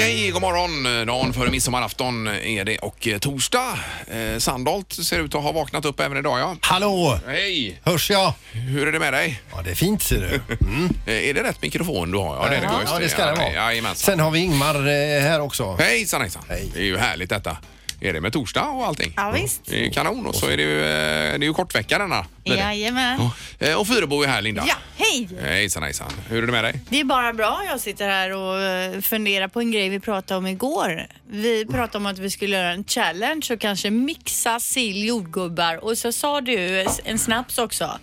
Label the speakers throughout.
Speaker 1: Eh, god morgon. Dagen före midsommarafton är det och eh, torsdag. Eh, Sandholt ser ut att ha vaknat upp även idag ja.
Speaker 2: Hallå!
Speaker 1: Hej!
Speaker 2: Hörs jag?
Speaker 1: Hur är det med dig?
Speaker 2: Ja, det är fint ser du.
Speaker 1: Eh, Är det rätt mikrofon du har? Ja, det är det. just
Speaker 2: ja, det ska det
Speaker 1: Ja,
Speaker 2: vara.
Speaker 1: Jajamensan.
Speaker 2: Sen har vi Ingmar eh, här också.
Speaker 1: Hejsan hejsan.
Speaker 2: Hej.
Speaker 1: Det är ju härligt detta. Är det med torsdag och allting?
Speaker 3: Ja, visst.
Speaker 1: Det är ju kanon och så är det ju, eh, det är ju kortvecka denna. blir det.
Speaker 3: Jajamän.
Speaker 1: Eh, Och Fyrebo är här Linda.
Speaker 3: Ja, hej!
Speaker 1: Hejsan hejsan. Hur är det med dig?
Speaker 3: Det är bara bra. Jag sitter här och eh, funderar på en grej vi pratade om igår. Vi pratade om att vi skulle göra en challenge och kanske mixa sill, jordgubbar och så sa du en snaps också.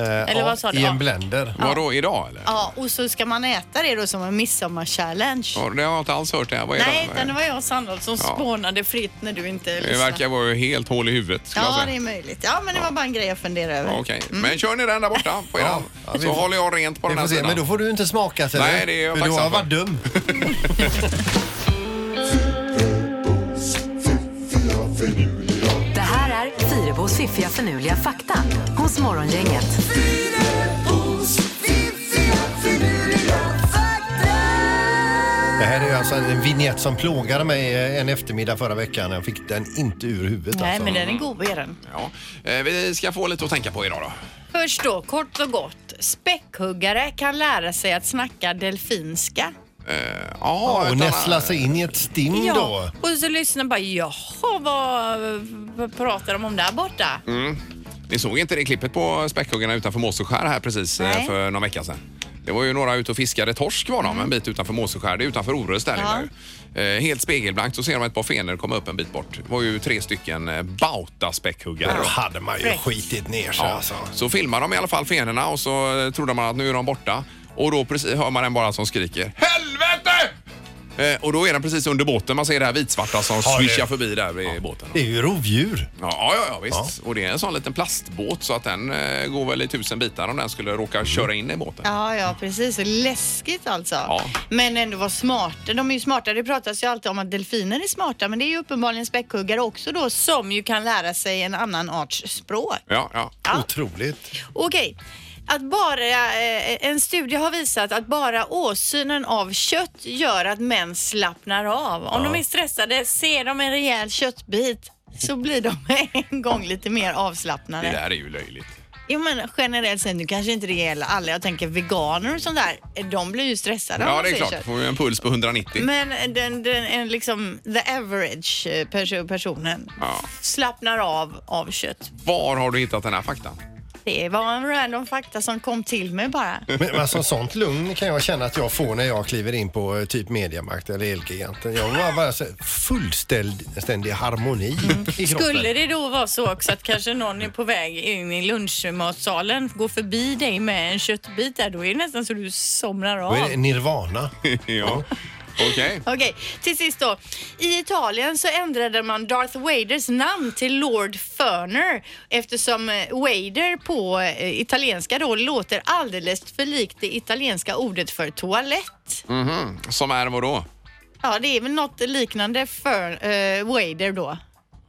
Speaker 2: Eller
Speaker 3: vad sa du?
Speaker 2: Eh, I
Speaker 3: Ja.
Speaker 2: en blender.
Speaker 1: Vadå idag eller?
Speaker 3: Ja, och så ska man äta det då som en midsommarchallenge.
Speaker 1: Ja, Det har jag inte alls hört det här. Vad är
Speaker 3: Nej,
Speaker 1: det?
Speaker 3: utan det var jag och Sandholt som spånade fritt när du inte
Speaker 1: Det
Speaker 3: lyssnade.
Speaker 1: verkar vara helt hål i huvudet skulle jag
Speaker 3: Ja,
Speaker 1: säga.
Speaker 3: det är möjligt. Ja, men det var bara en grej jag funderade över.
Speaker 1: Okej, men kör ni den där borta på eran
Speaker 2: Mm. ja, vi
Speaker 1: så
Speaker 2: får-
Speaker 1: håller jag rent på
Speaker 2: Vi
Speaker 1: den här
Speaker 2: får se,
Speaker 1: sidan.
Speaker 2: men då får du inte smaka ser
Speaker 1: Alltså
Speaker 2: du.
Speaker 1: Nej, det är jag
Speaker 2: För du har
Speaker 1: tacksam för.
Speaker 2: varit dum.
Speaker 4: Det här är Fyrabos fiffiga förnuliga fakta hos Morgongänget.
Speaker 2: Det här är ju alltså en vignett som plågade mig eh, en eftermiddag förra veckan. Jag fick den inte ur huvudet
Speaker 3: Nej,
Speaker 2: alltså.
Speaker 3: men den är god, är den.
Speaker 1: Ja. Eh, Vi ska få lite att tänka på idag då.
Speaker 3: Först då, kort och gott. Späckhuggare kan lära sig att snacka delfinska.
Speaker 1: Eh,
Speaker 2: Ja,
Speaker 1: Ja,
Speaker 2: och
Speaker 1: utan-
Speaker 2: nästla sig in i ett stim då.
Speaker 3: och så lyssnar man bara, jaha, vad, vad pratar de om där borta?
Speaker 1: Ni såg inte det klippet på späckhuggarna utanför Måseskär här precis eh,
Speaker 3: Nej.
Speaker 1: för någon vecka sedan? Det var ju några ute och fiskade torsk var de,
Speaker 2: Mm.
Speaker 1: en bit utanför Måseskär. Det är utanför Orust där
Speaker 3: Ja.
Speaker 1: inne nu. Eh, Helt spegelblankt så ser de ett par fenor komma upp en bit bort. Det var ju tre stycken eh, Bauta-späckhuggare.
Speaker 2: Då
Speaker 1: då.
Speaker 2: hade man ju
Speaker 3: Fräckt.
Speaker 2: skitit ner sig alltså.
Speaker 1: Så filmar de i alla fall fenorna och så eh, trodde man att nu är de borta. Och då precis hör man en bara som skriker Helvete! Eh, och då är den precis under båten. Man ser det här vitsvarta som
Speaker 2: Ja, det-
Speaker 1: svischar förbi där vid båten.
Speaker 2: Det är ju rovdjur.
Speaker 1: Ja, ja, ja visst. Och det är en sån liten plastbåt så att den eh, går väl i tusen bitar om den skulle
Speaker 2: Mm.
Speaker 1: råka köra in i båten.
Speaker 3: Ja, ja, precis. Så läskigt alltså.
Speaker 1: Ja.
Speaker 3: Men ändå var smarta. De är ju smarta. Det pratas ju alltid om att delfiner är smarta, men det är ju uppenbarligen späckhuggare också då, som ju kan lära sig en annan arts språk.
Speaker 1: Ja, ja.
Speaker 3: Ja.
Speaker 2: Otroligt.
Speaker 3: Okej. Att bara, eh, en studie har visat att bara åsynen av kött gör att män slappnar av. Om de är stressade, ser de en rejäl köttbit så blir de en gång lite mer
Speaker 1: Det
Speaker 3: avslappnade.
Speaker 1: där är ju löjligt.
Speaker 3: Jo men generellt sett, nu kanske inte det gäller alla. Jag tänker veganer och sånt där, de blir ju stressade om
Speaker 1: Ja, det
Speaker 3: de
Speaker 1: är
Speaker 3: ser
Speaker 1: klart.
Speaker 3: kött.
Speaker 1: Får ju Mm. en puls på 190.
Speaker 3: Men den, den, en liksom the average eh, perso- personen
Speaker 1: Ja.
Speaker 3: slappnar av av kött.
Speaker 1: Var har du hittat den här faktan?
Speaker 3: Det var en random fakta som kom till mig bara.
Speaker 2: Men alltså sånt lugn kan jag känna att jag får när jag kliver in på eh, typ Mediamarkt eller Elgiganten. Jag har bara så här fullständig harmoni i kroppen.
Speaker 3: Skulle det då vara så också att kanske någon är på väg in i lunchmatsalen, går förbi dig med en köttbit där, då är det nästan så du somnar
Speaker 2: Då är det
Speaker 3: av.
Speaker 2: nirvana.
Speaker 1: ja. Okej.
Speaker 3: Okej, till sist då. I Italien så ändrade man Darth Vaders namn till Lord Ferner eftersom eh, Wader på eh, italienska då låter alldeles för likt det italienska ordet för toalett.
Speaker 2: Mm.
Speaker 1: Mhm. Som är vadå?
Speaker 3: Ja, det är väl något liknande för eh, Wader då.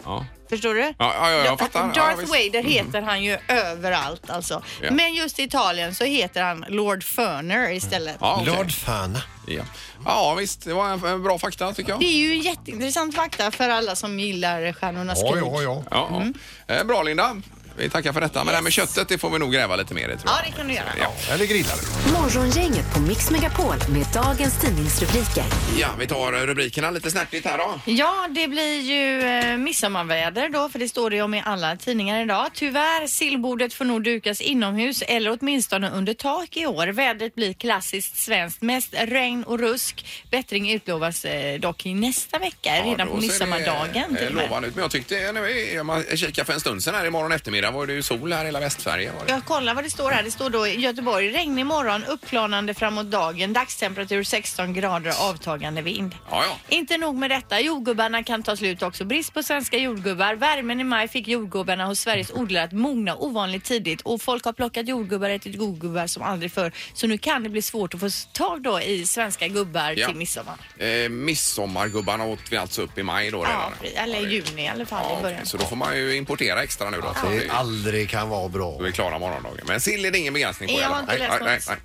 Speaker 1: Ja.
Speaker 3: Förstår du?
Speaker 1: Ja, ja, ja, jag fattar. Ja,
Speaker 3: Darth
Speaker 1: visst. Mm-hmm.
Speaker 3: Vader heter han ju överallt alltså.
Speaker 1: Ja.
Speaker 3: Men just i Italien så heter han Lord Ferner istället.
Speaker 1: Ja, okej.
Speaker 2: Lord Fana.
Speaker 1: Ja. ja, visst. Det var en, en bra fakta tycker jag.
Speaker 3: Det är ju en jätteintressant fakta för alla som gillar Stjärnornas krig.
Speaker 2: ja.
Speaker 1: Ja, ja.
Speaker 3: Mm.
Speaker 1: Eh, Bra Linda. Vi tackar för detta. Men det här med köttet, det får vi nog gräva lite mer i tror jag.
Speaker 3: Ja, det kan du göra.
Speaker 1: Ja.
Speaker 2: Eller grillar du?
Speaker 4: Morgongänget på Mix Megapol med dagens tidningsrubriker.
Speaker 1: ja, vi tar eh, rubrikerna lite snärtigt här då.
Speaker 3: Ja, det blir ju eh, midsommarväder då, för det står det ju om i alla tidningar idag. Tyvärr, sillbordet får nog dukas inomhus eller åtminstone under tak i år. Vädret blir klassiskt svenskt, mest regn och rusk. Bättring utlovas eh, dock i nästa vecka, redan
Speaker 1: då
Speaker 3: på
Speaker 1: ser det,
Speaker 3: midsommardagen
Speaker 1: eh,
Speaker 3: till och med.
Speaker 1: Lovande ut. Men jag tyckte, eh, när vi- man kikade för en stund sedan här i morgon eftermiddag var det ju sol här i hela Västsverige. Var det.
Speaker 3: Jag kollar vad det står här. Det står då i Göteborg, regn imorgon, uppklarnande framåt dagen, dagstemperatur 16 grader, avtagande vind.
Speaker 1: Ja, ja.
Speaker 3: Inte nog med detta, jordgubbarna kan ta slut också. Brist på svenska jordgubbar. Värmen i maj fick jordgubbarna hos Sveriges odlare att mogna ovanligt tidigt och folk har plockat jordgubbar och ätit godgubbar som aldrig förr. Så nu kan det bli svårt att få tag då i svenska gubbar
Speaker 1: Ja.
Speaker 3: till midsommar.
Speaker 1: Eh, midsommargubbarna åt vi alltså upp i maj då
Speaker 3: Ja,
Speaker 1: redan.
Speaker 3: eller juni i alla fall
Speaker 1: Ja,
Speaker 3: i
Speaker 1: okej.
Speaker 3: början.
Speaker 1: Så då får man ju importera extra nu då. Så det är ju-
Speaker 2: aldrig kan vara bra.
Speaker 1: Då är vi klara morgondagen. Men sill är det ingen begränsning på.
Speaker 3: Jag
Speaker 1: i alla
Speaker 3: har
Speaker 1: fall.
Speaker 3: inte
Speaker 1: Nej,
Speaker 3: läst
Speaker 1: nej,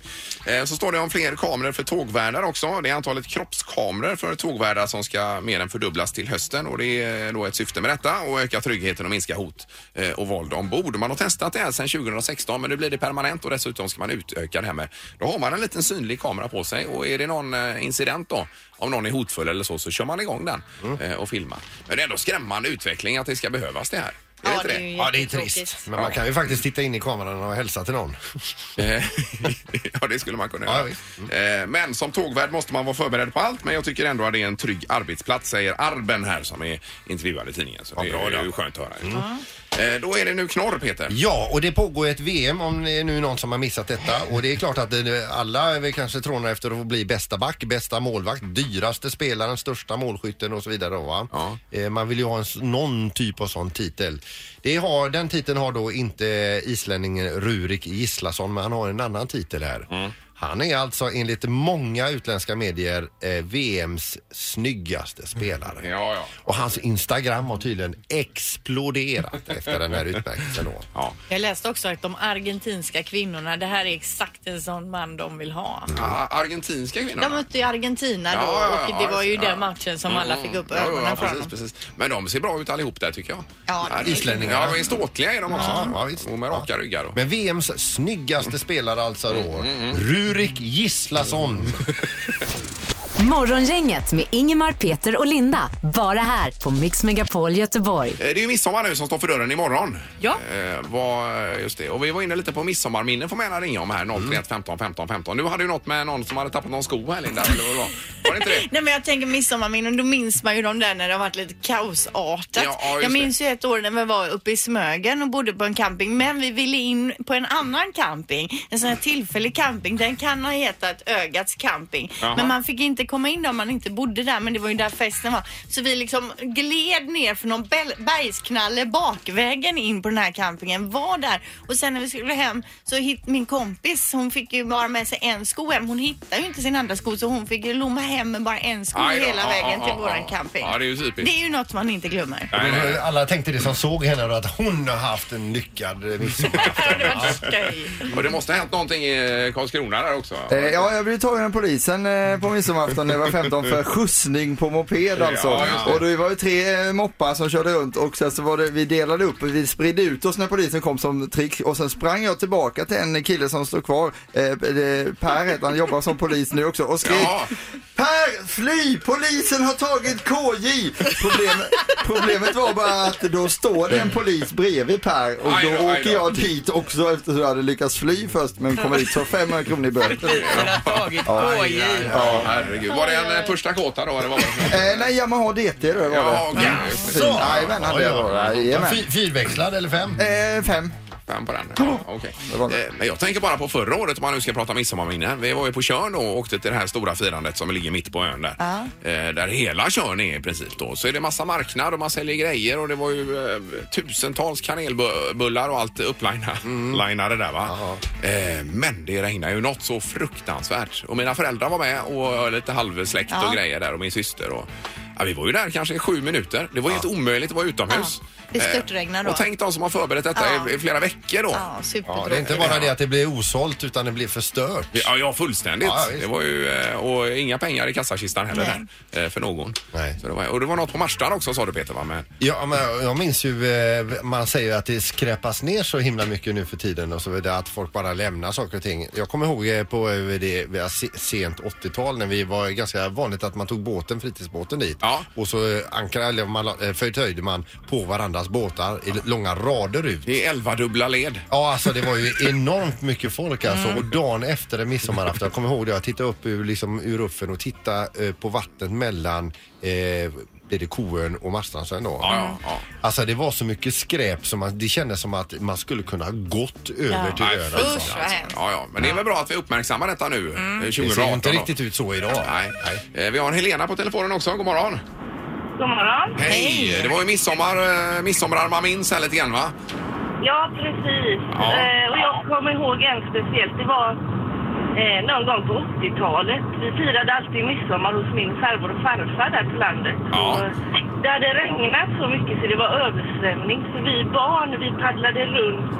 Speaker 1: nej. Eh, Så står det om fler kameror för tågvärdar också. Det är antalet kroppskameror för tågvärdar som ska mer än fördubblas till hösten och det är då ett syfte med detta och öka tryggheten och minska hot eh, och våld ombord. Man har testat det här sedan 2016 men nu blir det permanent och dessutom ska man utöka det här med. Då har man en liten synlig kamera på sig och är det någon eh, incident då om någon är hotfull eller så så kör man igång den
Speaker 3: Mm.
Speaker 1: eh, och filmar. Men det är ändå skrämmande utveckling att det ska behövas det här. Är det inte det?
Speaker 2: Ja, det är trist. Men man kan ju faktiskt titta in i kameran och hälsa till någon.
Speaker 1: Eh, ja, det skulle man kunna
Speaker 2: Ja, Mm.
Speaker 1: göra. Eh, Men som tågvärd måste man vara förberedd på allt. Men jag tycker ändå att det är en trygg arbetsplats, säger Arben här som är intervjuad i tidningen. Så det är ju skönt att höra.
Speaker 2: Mm.
Speaker 1: Eh, Då är det nu knorr, Peter.
Speaker 2: Ja, och det pågår ett VM om det är nu någon som har missat detta. Och det är klart att det- alla är väl kanske trånar efter att få bli bästa back, bästa målvakt,
Speaker 1: Mm.
Speaker 2: dyraste spelaren, största målskytten och så vidare. då, Va?
Speaker 1: Ja.
Speaker 2: Eh, Man vill ju ha en, s- någon typ av sån titel. Det har, den titeln har då inte islänningen Rurik Gislason, men han har en annan titel här.
Speaker 1: Mm.
Speaker 2: Han är alltså enligt många utländska medier eh, VMs snyggaste spelare.
Speaker 1: Ja, ja.
Speaker 2: Och hans Instagram har tydligen exploderat efter den här utmärkelsen. Då.
Speaker 1: ja.
Speaker 3: Jag läste också att de argentinska kvinnorna, det här är exakt en sån man de vill ha.
Speaker 1: Ah, Argentinska
Speaker 3: De
Speaker 1: kvinnorna.
Speaker 3: mötte ju Argentina då
Speaker 1: Ja, ja, ja,
Speaker 3: och det var ju
Speaker 1: ja.
Speaker 3: den matchen som alla fick upp
Speaker 1: Ja, ja,
Speaker 3: ögonen
Speaker 1: ja,
Speaker 3: för.
Speaker 1: precis, precis. Men de ser bra ut allihop där tycker jag.
Speaker 3: Ja, det är-
Speaker 2: Islänningarna.
Speaker 1: Ja, men ståtliga är de också.
Speaker 2: Ja, ja, visst.
Speaker 1: Och med raka ryggar. Och.
Speaker 2: Men VMs snyggaste spelare alltså då, Rurik Gislason.
Speaker 4: Morgongänget med Ingemar, Peter och Linda. Bara här på Mix Megapol Göteborg.
Speaker 1: Eh, Det är ju midsommar nu som står för dörren imorgon.
Speaker 3: Ja.
Speaker 1: Eh, vad, just det. Och vi var inne lite på midsommarminnen får man gärna ringa om
Speaker 5: Mm.
Speaker 1: här 031 15 15 15. Nu hade du något med någon som hade tappat någon sko här Linda. Eller vad det var. var det inte det?
Speaker 3: Nej men jag tänker midsommarminnen, då minns man ju de där när det har varit lite kaosartat.
Speaker 1: Ja, ja, just
Speaker 3: jag minns ju ett år när vi var uppe i Smögen och bodde på en camping men vi ville in på en annan camping, en sån här tillfällig camping. Den kan ha hetat Ögats camping.
Speaker 1: Jaha.
Speaker 3: Men man fick inte komma in om man inte bodde där men det var ju där festen var. Så vi liksom gled ner för någon bel- bergsknalle bakvägen in på den här campingen, var där och sen när vi skulle hem så hit, min kompis hon fick ju bara med sig en sko hem. Hon hittade ju inte sin andra sko så hon fick ju lomma hem med bara en sko går
Speaker 1: Aj då,
Speaker 3: hela
Speaker 1: ja,
Speaker 3: vägen
Speaker 1: ja,
Speaker 3: till
Speaker 1: ja,
Speaker 3: våran
Speaker 1: ja.
Speaker 3: camping.
Speaker 1: Ja, det är ju typiskt.
Speaker 3: Det är ju något man inte glömmer.
Speaker 1: Nej, nej.
Speaker 2: eh, Alla tänkte det som såg henne då, att hon har haft en lyckad eh, midsommar.
Speaker 3: det var skoj.
Speaker 1: Och det måste ha hänt någonting i Karlskrona där också.
Speaker 5: Eh, ja, jag blev tagen av polisen eh, på midsommarafton när jag var 15 för skjutsning på moped alltså.
Speaker 1: Ja, just det.
Speaker 5: och det var ju tre eh, moppar som körde runt och sen så var det, vi delade upp, vi spridde ut oss när polisen kom som trick och sen sprang jag tillbaka till en kille som stod kvar, eh, eh, Per heter han, jobbar som polis nu också och skrek
Speaker 1: Ja.
Speaker 5: Per, fly! Polisen har tagit KJ! Problemet, problemet var bara att då står det en polis bredvid Per och
Speaker 1: Aj
Speaker 5: då
Speaker 1: då, aj då.
Speaker 5: åker jag dit också eftersom jag hade lyckats fly först men kom dit så 500 kronor i böter.
Speaker 1: Aj, aj, aj. Herregud. Var det en eh, första kåta då? Eller vad var det?
Speaker 5: Eh, nej, Yamaha DT då var det.
Speaker 1: Ja, okej.
Speaker 5: Fin. Jajamän, hade jag då. Jajamän.
Speaker 2: Fy- Fyrväxlad eller fem?
Speaker 5: Eh, fem.
Speaker 1: Fem på den. Ja, okej.
Speaker 5: var det.
Speaker 1: Eh, Men jag tänker bara på förra året om man nu ska prata midsommarminnen. Vi var ju på Tjörn då och åkte till det här stora firandet som ligger mitt på ön där. Eh, Där hela Tjörn är i princip då. Så är det massa marknad och man säljer grejer och det var ju eh, tusentals kanelbullar och allt upplinade linade där va.
Speaker 3: Mm.
Speaker 1: Eh, Men det regnar ju något så fruktansvärt. Och mina föräldrar var med och lite halvsläkt och grejer där och min syster och Ja, vi var ju där kanske i sju minuter. Det var helt omöjligt att vara utomhus.
Speaker 3: Ja. Det störtregnade
Speaker 1: Eh,
Speaker 3: då.
Speaker 1: Och tänk de som har förberett detta
Speaker 3: Ja.
Speaker 1: i- i flera veckor då.
Speaker 3: Ja,
Speaker 2: Ja, det är inte
Speaker 3: supertråkigt.
Speaker 2: bara det att det blir osålt utan det blir förstört.
Speaker 1: Ja, ja fullständigt.
Speaker 2: Ja, visst.
Speaker 1: det var ju, eh, och inga pengar i kassakistan heller där, eh, för någon.
Speaker 2: Nej.
Speaker 1: Så det var, och det var något på Marstrand också sa du Peter va? Men,
Speaker 2: Ja, men jag- jag minns ju, eh, man säger att det skräpas ner så himla mycket nu för tiden och så vidare, att folk bara lämnar saker och ting. Jag kommer ihåg eh, på eh, det vi har se- sent 80-tal när vi var ganska vanligt att man tog båten, fritidsbåten dit
Speaker 1: Ja.
Speaker 2: och så eh, ankra, eller man, la- eh, förtöjde man på varandras båtar i långa rader ut.
Speaker 1: det är elva dubbla led.
Speaker 2: Ja, alltså det var ju enormt mycket folk alltså.
Speaker 1: Mm.
Speaker 2: Och dagen efter en midsommarafton, jag kommer ihåg det, jag tittade upp ur, liksom, ur ruffen och tittade eh, på vattnet mellan eh, blir det Koön och Marstrandsön då?
Speaker 1: Ja, ja, ja.
Speaker 2: Alltså det var så mycket skräp som man, det kändes som att man skulle kunna ha gått över till
Speaker 1: Nej,
Speaker 2: ön.
Speaker 1: fy
Speaker 2: Alltså.
Speaker 3: Usch,
Speaker 1: fan,
Speaker 3: vad
Speaker 1: alltså.
Speaker 3: hemskt.
Speaker 1: ja, ja. Men det är väl bra att vi uppmärksammar detta nu mm.
Speaker 2: Det
Speaker 1: 2018.
Speaker 2: ser inte
Speaker 1: då.
Speaker 2: riktigt ut så idag.
Speaker 1: Nej. Eh, Vi har en Helena på telefonen också. God morgon.
Speaker 6: God morgon.
Speaker 1: Hej! Det var ju midsommar, eh, midsommar man minns här lite grann va?
Speaker 6: Ja, precis.
Speaker 1: Ja.
Speaker 6: Eh, och jag kommer ihåg en speciellt. Det var eh, någon gång på 80-talet. Vi firade alltid midsommar hos min farbror och farfar där på landet.
Speaker 1: Ja.
Speaker 6: Och det hade regnat så mycket så det var översvämning. Så vi barn, vi paddlade runt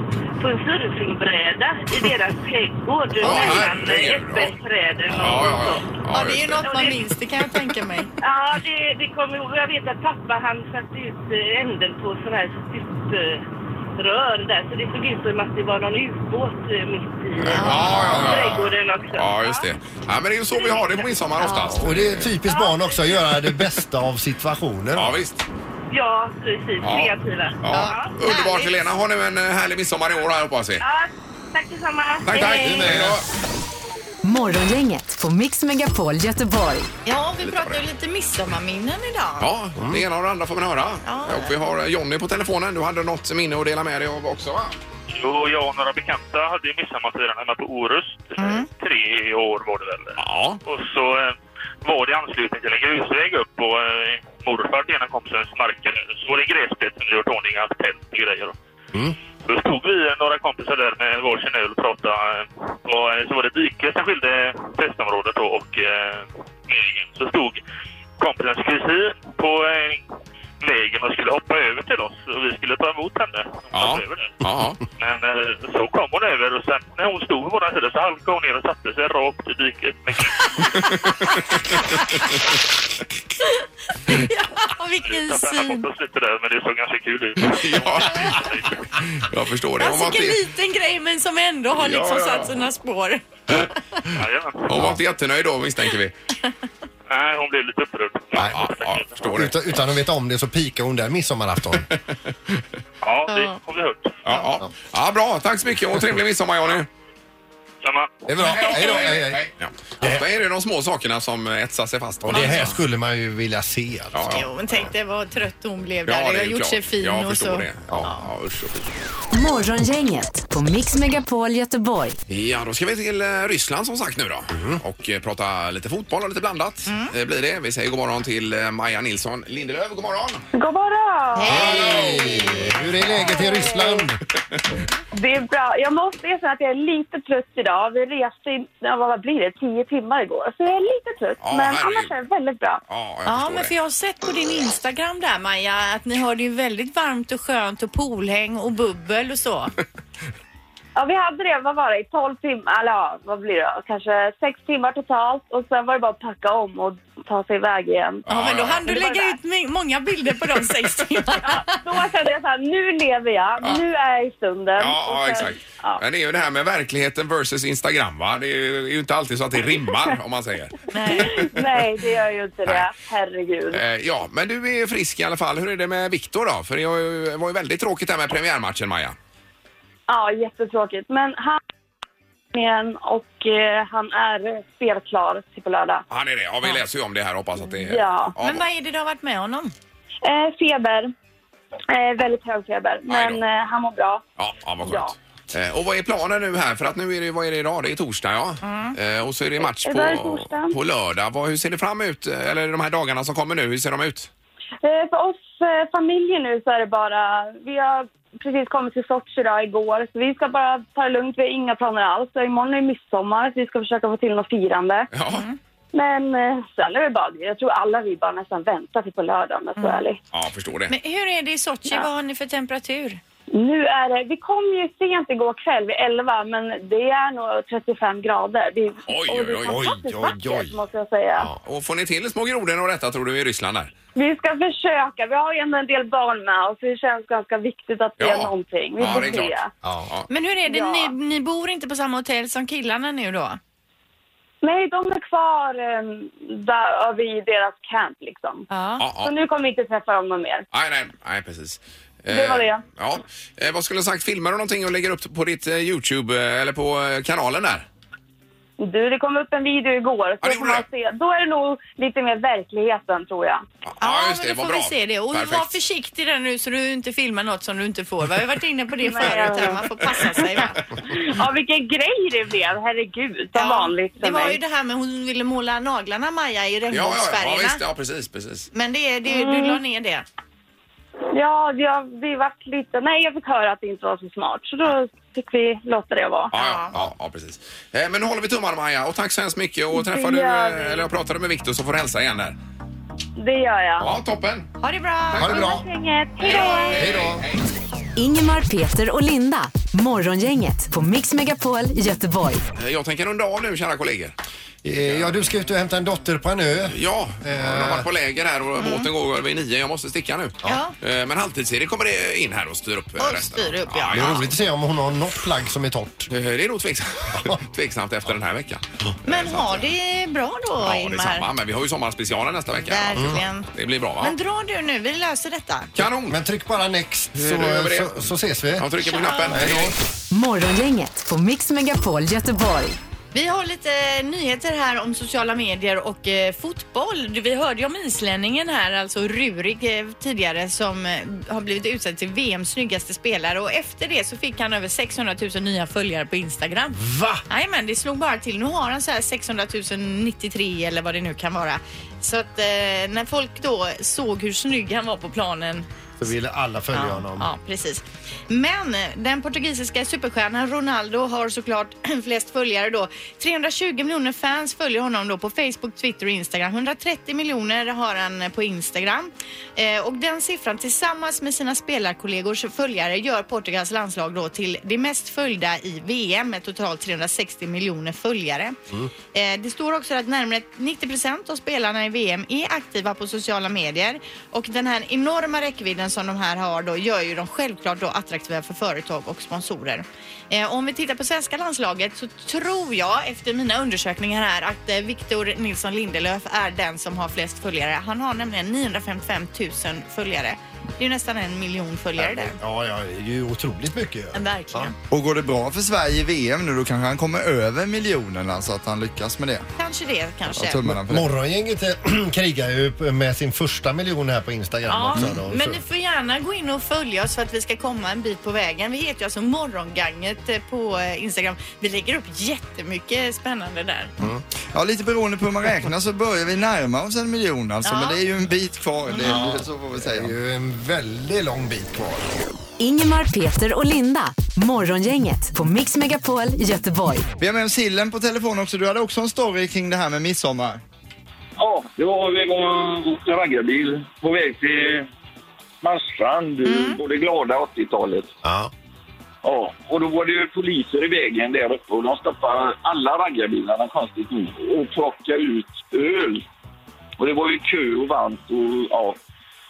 Speaker 6: på en surfingbräda i deras trädgård mellan eh,
Speaker 1: herregud, ja.
Speaker 6: äppelträden och
Speaker 1: Ja, ja, ja.
Speaker 3: Ja, det är
Speaker 1: just
Speaker 3: ju något man minns, det kan jag tänka mig.
Speaker 6: Ja, det, det kommer ihåg. Jag vet att pappa han satte ut eh, änden på sån här stuprör där. Så det såg ut som att det var någon ubåt eh, mitt i eh,
Speaker 1: Ja, ja, ja.
Speaker 6: trädgården också.
Speaker 1: Ja, just det. Ja, men det är ju så vi har det på midsommar oftast.
Speaker 2: Och det är typiskt barn också att göra det bästa av situationen.
Speaker 1: Ja, visst.
Speaker 6: Ja, precis.
Speaker 1: Ja.
Speaker 6: Kreativa.
Speaker 1: Ja. Underbart
Speaker 3: Härligt.
Speaker 1: Helena. Ha nu en eh, härlig midsommar i år här hoppas vi.
Speaker 6: ja tack detsamma.
Speaker 1: Tack, tack.
Speaker 3: Hej.
Speaker 1: Hej då.
Speaker 4: Morgongänget på Mix Megapol Göteborg.
Speaker 3: Ja, vi pratar ju lite midsommarminnen idag.
Speaker 1: Ja, det ena och det andra får man höra.
Speaker 3: Ja.
Speaker 1: Och vi har Jonny på telefonen. Du hade något minne att dela med dig av också va?
Speaker 7: Jo, jag och några bekanta hade ju midsommarfirande hemma på Orust. Tre år var det väl.
Speaker 1: Ja.
Speaker 7: Och så eh, var det i anslutning till en grusväg upp på eh, morfar till ena kompisens marker. Så var det gräsplätt som vi gjort ordning allt tält och grejer. Då stod vi eh, några kompisar där med varsin öl och pratade. eh, Och eh, så var det ett dike som skilde festområdet då och eh, vägen. Så stod kompisens kusin på eh, vägen och skulle hoppa över till oss och vi skulle ta emot henne.
Speaker 1: Ja.
Speaker 7: Hoppa Över det.
Speaker 1: Ja.
Speaker 7: Men eh, så kom hon över och sen när hon stod på våran sida så halkade hon ner och satte sig rakt i diket. med
Speaker 3: Och vilken
Speaker 7: knuten. Hon
Speaker 3: syn!
Speaker 7: bort oss lite där, men det såg ganska kul ut.
Speaker 1: ja. Jag förstår det. Hon
Speaker 3: Alltså
Speaker 1: var
Speaker 3: vilken
Speaker 1: inte,
Speaker 3: liten grej men som ändå har
Speaker 1: Ja,
Speaker 3: liksom
Speaker 1: ja.
Speaker 3: satt sina spår.
Speaker 7: Jajamän.
Speaker 1: hon var inte jättenöjd då misstänker vi.
Speaker 7: Nej, hon blev lite upprörd.
Speaker 1: Ja, ja, jag förstår det.
Speaker 2: Utan, utan att veta om det så pikar hon där midsommarafton.
Speaker 7: Ja, det har vi hört.
Speaker 1: Ja, ja. ja, bra. Tack så mycket och trevlig midsommar Jonny.
Speaker 7: Samma.
Speaker 2: Det är bra. Hej då. Hej, hej.
Speaker 1: Ja. Ofta är det de små sakerna som eh, etsar sig fast.
Speaker 2: Och det här skulle man ju vilja se. Alltså.
Speaker 1: Alltså. Ja, ja.
Speaker 3: Jo, men tänk dig vad trött hon blev
Speaker 1: Ja,
Speaker 3: där.
Speaker 1: det
Speaker 3: Jag
Speaker 1: är
Speaker 3: har
Speaker 1: ju
Speaker 3: gjort
Speaker 1: klart.
Speaker 3: sig fin
Speaker 1: Jag
Speaker 3: och
Speaker 1: förstår
Speaker 3: så.
Speaker 1: det. Ja, ja, usch och fy.
Speaker 4: Morgongänget på Mix Megapol Göteborg.
Speaker 1: Ja, då ska vi till eh, Ryssland som sagt nu då och eh, prata lite fotboll och lite blandat eh, blir det. Vi säger god morgon till eh, Maja Nilsson Lindelöf. God morgon!
Speaker 6: God morgon!
Speaker 2: Hej! Hur är läget i Ryssland?
Speaker 6: Det är bra. Jag måste erkänna att jag är lite trött idag. Vi reste i, ja, vad blir det, tio timmar igår. Så jag är lite trött,
Speaker 1: Ja,
Speaker 6: men
Speaker 1: herregud.
Speaker 6: annars är det väldigt bra.
Speaker 1: Ja, jag
Speaker 3: Ja,
Speaker 1: förstår
Speaker 3: men
Speaker 1: det.
Speaker 3: för jag har sett på din Instagram där Maja att ni har det ju väldigt varmt och skönt och poolhäng och bubbel och så.
Speaker 6: Ja, vi hade det, vad var det, i 12 timmar, eller ja, vad blir det, kanske sex timmar totalt. Och sen var det bara att packa om och ta sig iväg igen.
Speaker 3: Ja, men då
Speaker 1: ja.
Speaker 3: hann du
Speaker 6: Det var
Speaker 3: lägga
Speaker 6: det.
Speaker 3: ut mi- många bilder på de sex timmarna.
Speaker 6: Då kände jag så här, nu lever jag, nu är jag i stunden.
Speaker 1: Ja,
Speaker 6: Och
Speaker 1: ja,
Speaker 6: sen-
Speaker 1: exakt.
Speaker 6: Ja.
Speaker 1: Men det är ju det här med verkligheten versus Instagram va? Det är ju det är ju inte alltid så att det rimmar om man säger.
Speaker 6: Nej, det gör ju inte det. Herregud.
Speaker 1: Eh, Ja, men du är frisk i alla fall. Hur är det med Viktor då? För det var ju- det var ju väldigt tråkigt där med premiärmatchen Maja.
Speaker 6: Ja, jättetråkigt. Men han är igen och eh, han är spelklar till på lördag.
Speaker 1: Han är det. Ja, vi läser ju om det här. Hoppas att det är...
Speaker 6: Ja.
Speaker 3: Men vad är det du har varit med honom?
Speaker 6: Eh, feber. Eh, väldigt hög feber. Men
Speaker 1: då.
Speaker 6: eh, han mår bra.
Speaker 1: Ja, ja vad skönt. Eh, Och vad är planen nu här? För att nu är det, vad är det idag? Det är torsdag ja. Eh, och så är det match
Speaker 6: Idag är
Speaker 1: på,
Speaker 6: torsdag.
Speaker 1: på lördag. Vad, hur ser det fram ut? Eh, Eller de här dagarna som kommer nu, hur ser de ut?
Speaker 6: Eh, för oss eh, familjer nu så är det bara... Vi har precis kommit till Sochi idag igår. Så vi ska bara ta det lugnt. Vi har inga planer alls. Så imorgon är midsommar. Så vi ska försöka få till något firande.
Speaker 1: Ja,
Speaker 6: Men eh, sen är det bara... Jag tror alla vi bara nästan väntar till på lördag om jag ska vara ärlig.
Speaker 1: ja förstår det.
Speaker 3: Men hur är det i Sochi? Vad har ni för temperatur?
Speaker 6: Nu är det, vi kom ju sent igår kväll vid 11, men det är nog 35 grader. Det,
Speaker 1: Oj,
Speaker 6: och det är
Speaker 1: oj, oj,
Speaker 6: fantastiskt
Speaker 2: oj,
Speaker 6: vackert,
Speaker 2: oj.
Speaker 6: måste jag säga.
Speaker 1: Ja. Och får ni till små grodorna och detta tror du i Ryssland där?
Speaker 6: Vi ska försöka. Vi har ju ändå en del barn med oss, så det känns ganska viktigt att det
Speaker 1: Ja.
Speaker 6: är någonting. Vi
Speaker 1: Ja,
Speaker 6: får
Speaker 1: det är
Speaker 6: se.
Speaker 1: klart.
Speaker 2: Ja.
Speaker 3: Men hur är det,
Speaker 6: Ja.
Speaker 3: ni, ni bor inte på samma hotell som killarna nu då?
Speaker 6: Nej, de är kvar eh, där, vid deras camp liksom.
Speaker 3: Ja.
Speaker 1: Ja,
Speaker 6: Så
Speaker 1: ja.
Speaker 6: nu kommer vi inte träffa dem någon mer.
Speaker 1: Nej, nej, nej precis. Eh,
Speaker 6: Det var det.
Speaker 1: Ja. Eh, vad skulle du sagt? Filmar du någonting och lägger upp på ditt eh, Youtube eh, eller på eh, kanalen där?
Speaker 6: Du, det kom upp en video igår.
Speaker 1: Ja,
Speaker 6: Så
Speaker 1: det
Speaker 6: får
Speaker 1: gjorde
Speaker 6: man se. Då är det nog lite mer verkligheten, tror jag.
Speaker 3: Ja,
Speaker 1: just
Speaker 3: men då
Speaker 1: vad
Speaker 3: får vi se det. Och
Speaker 1: Perfekt.
Speaker 3: var försiktig där nu så du inte filmar något som du inte får. Vi har ju varit inne på det
Speaker 6: Nej,
Speaker 3: förut här.
Speaker 6: Mm. ja.
Speaker 3: Man får passa sig va?
Speaker 6: Ja, vilken grej det blev. Herregud, som vanligt för
Speaker 3: Det var
Speaker 6: mig.
Speaker 3: ju det här med hon ville måla naglarna Maja i
Speaker 1: Ja, ja, ja,
Speaker 3: regnbågsfärgerna.
Speaker 1: visst, ja precis, precis.
Speaker 3: Men det, det,
Speaker 6: Mm.
Speaker 3: du la ner det.
Speaker 6: Ja, jag, det vart lite... Nej, jag fick höra att det inte var så smart. Så då fick vi låta det vara.
Speaker 1: Ja, ja, ja, ja precis. Eh, Men nu håller vi tummarna Maja och tack så hemskt mycket och träffar du,
Speaker 6: Det gör vi.
Speaker 1: eh, eller jag pratade med Viktor så får du hälsa igen där.
Speaker 6: Det gör jag.
Speaker 1: Ja, toppen.
Speaker 3: Ha det bra!
Speaker 2: Ha det bra.
Speaker 6: Inget. Hej då!
Speaker 1: Hej då.
Speaker 4: Ingemar, Peter och Linda. Morgongänget på Mix Megapol Göteborg.
Speaker 1: Eh, Jag tänker runda av nu kära kollegor.
Speaker 2: Eh, Ja, du ska ut och hämta en dotter på en ö.
Speaker 1: Ja, de har varit på läger här och båten går vid nio. Jag måste sticka nu.
Speaker 3: Mm. Ja.
Speaker 1: Eh, Men halvtids-Erik kommer det in här och styr upp eh,
Speaker 3: Och
Speaker 1: resten.
Speaker 3: styr upp, ja.
Speaker 2: Det är roligt att se om hon har något plagg som är torrt.
Speaker 1: Eh, Det är nog tveksamt, tveksamt efter den här veckan.
Speaker 3: Men ha det bra då,
Speaker 1: Ja, det är samma.
Speaker 3: Ingmar.
Speaker 1: Men vi har ju sommarspecialen nästa vecka.
Speaker 3: Verkligen.
Speaker 1: Det blir bra va?
Speaker 3: Men dra du nu, vi löser detta.
Speaker 1: Kanon!
Speaker 2: Men tryck bara next
Speaker 1: Nu gör vi
Speaker 2: så,
Speaker 1: det.
Speaker 2: så, så ses vi.
Speaker 1: Jag trycker på knappen. Hej då.
Speaker 4: Morgongänget på Mix Megapol Göteborg.
Speaker 3: Vi har lite nyheter här om sociala medier och eh, fotboll. Du, Vi hörde ju om islänningen här, alltså Rurik eh, tidigare som eh, har blivit utsedd till VMs snyggaste spelare och efter det så fick han över 600 000 nya följare på Instagram.
Speaker 2: Va?
Speaker 3: men det slog bara till. Nu har han så här 600 093 eller vad det nu kan vara. Så att eh, när folk då såg hur snygg han var på planen
Speaker 2: Så vill alla följa honom.
Speaker 3: Ja, precis. Men eh, den portugisiska superstjärnan Ronaldo har såklart flest följare då. 320 miljoner fans följer honom då på Facebook, Twitter och Instagram. 130 miljoner har han på Instagram. Eh, och den siffran tillsammans med sina spelarkollegors följare gör Portugals landslag då till det mest följda i VM med totalt 360 miljoner följare. Eh, det står också att närmare 90 procent av spelarna i VM är aktiva på sociala medier och den här enorma räckvidden som de här har då gör ju dem självklart då attraktiva för företag och sponsorer. Eh, om vi tittar på svenska landslaget så tror jag efter mina undersökningar här att eh, Victor Nilsson Lindelöf är den som har flest följare. Han har nämligen 955 000 följare. Det är ju nästan en miljon följare där.
Speaker 2: Ja, ja, det är ju otroligt mycket.
Speaker 3: Men Verkligen.
Speaker 5: Och går det bra för Sverige i VM nu då kanske han kommer över miljonerna så att han lyckas med det.
Speaker 3: Kanske det
Speaker 5: Jag
Speaker 3: kanske.
Speaker 5: tummarna för det.
Speaker 2: Morgongänget eh, krigar ju med sin första miljon här på Instagram
Speaker 3: Ja,
Speaker 2: också. Då,
Speaker 3: men
Speaker 2: Så-
Speaker 3: ni får gärna gå in och följa oss för att vi ska komma en bit på vägen. Vi heter ju alltså Morgonganget eh, på eh, Instagram. Vi lägger upp jättemycket spännande där.
Speaker 5: Ja, lite beroende på hur man räknar så börjar vi närma oss en miljon alltså.
Speaker 3: Ja.
Speaker 5: Men det är ju en bit kvar, det, är- så får
Speaker 2: Det
Speaker 5: vi
Speaker 2: är
Speaker 5: säga.
Speaker 2: ju en väldigt lång bit kvar.
Speaker 4: Ingemar, Peter och Linda. Morgongänget på Mix Megapol Göteborg.
Speaker 5: Vi har med oss Hillen på telefon också. Du hade också en story kring det här med midsommar.
Speaker 7: Ja, då vi var en raggarbil på väg till Marstrand, på det glada 80-talet.
Speaker 2: Ja.
Speaker 7: Ja, och då var det ju poliser i vägen där uppe och de stoppade alla raggarbilarna konstigt nog och plockade ut öl. Och det var ju kö och varmt och ja.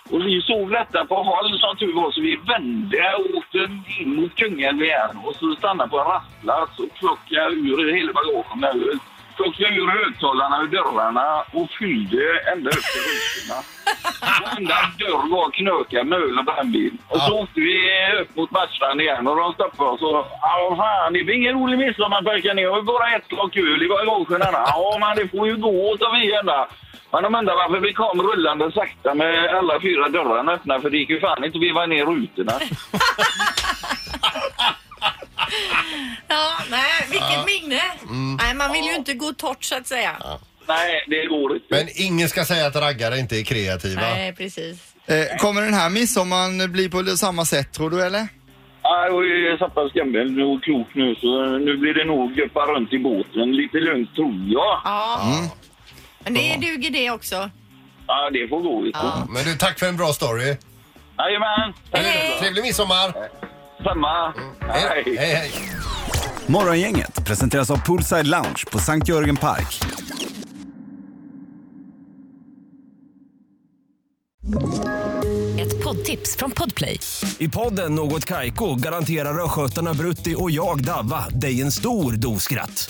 Speaker 7: Och vi såg detta på håll som tur var så vi vände och åkte in mot Kungälv igen och så stannade på en rastplats och plockade ur hela bagagen med öl. Plockade ur högtalarna ur dörrarna och fyllde ända upp till rutorna. Varenda dörr var knökad med öl och brännvin. Och så åkte vi upp mot Marstrand igen och de stoppade oss och Ja, vad fan, det blir ingen rolig midsommar pojkar. Ni har ju bara ett lock öl i bagagen. Ja, men det får ju gå, sa vi ända. Men de undrar varför vi kom rullande sakta med alla fyra dörrarna öppna för det gick ju fan inte att veva ner rutorna.
Speaker 3: Ja, nej, vilket minne! Nej, man vill ju inte gå torrt så att säga.
Speaker 7: Nej, det går inte.
Speaker 2: Men ingen ska säga att raggare inte är kreativa.
Speaker 3: Nej, precis.
Speaker 5: Eh, kommer den här midsommaren bli på det- samma sätt tror du eller?
Speaker 7: Ja, Jag är så pass gammal och klok nu så nu blir det nog guppa runt i båten lite lugnt tror jag.
Speaker 3: Ja. Men det duger det också.
Speaker 7: Ja, det får gå. vet du.
Speaker 2: Men du, tack för en bra story.
Speaker 7: Jajamän!
Speaker 2: Trevlig midsommar!
Speaker 7: Samma!
Speaker 8: Mm. Eh,
Speaker 7: Hej!
Speaker 2: Hej, hej.
Speaker 9: Morgongänget presenteras av Poolside Lounge på Sankt Jörgen Park.
Speaker 4: Ett poddtips från Podplay.
Speaker 8: I podden Något Kaiko garanterar östgötarna Brutti och jag, Davva, dig en stor dos skratt.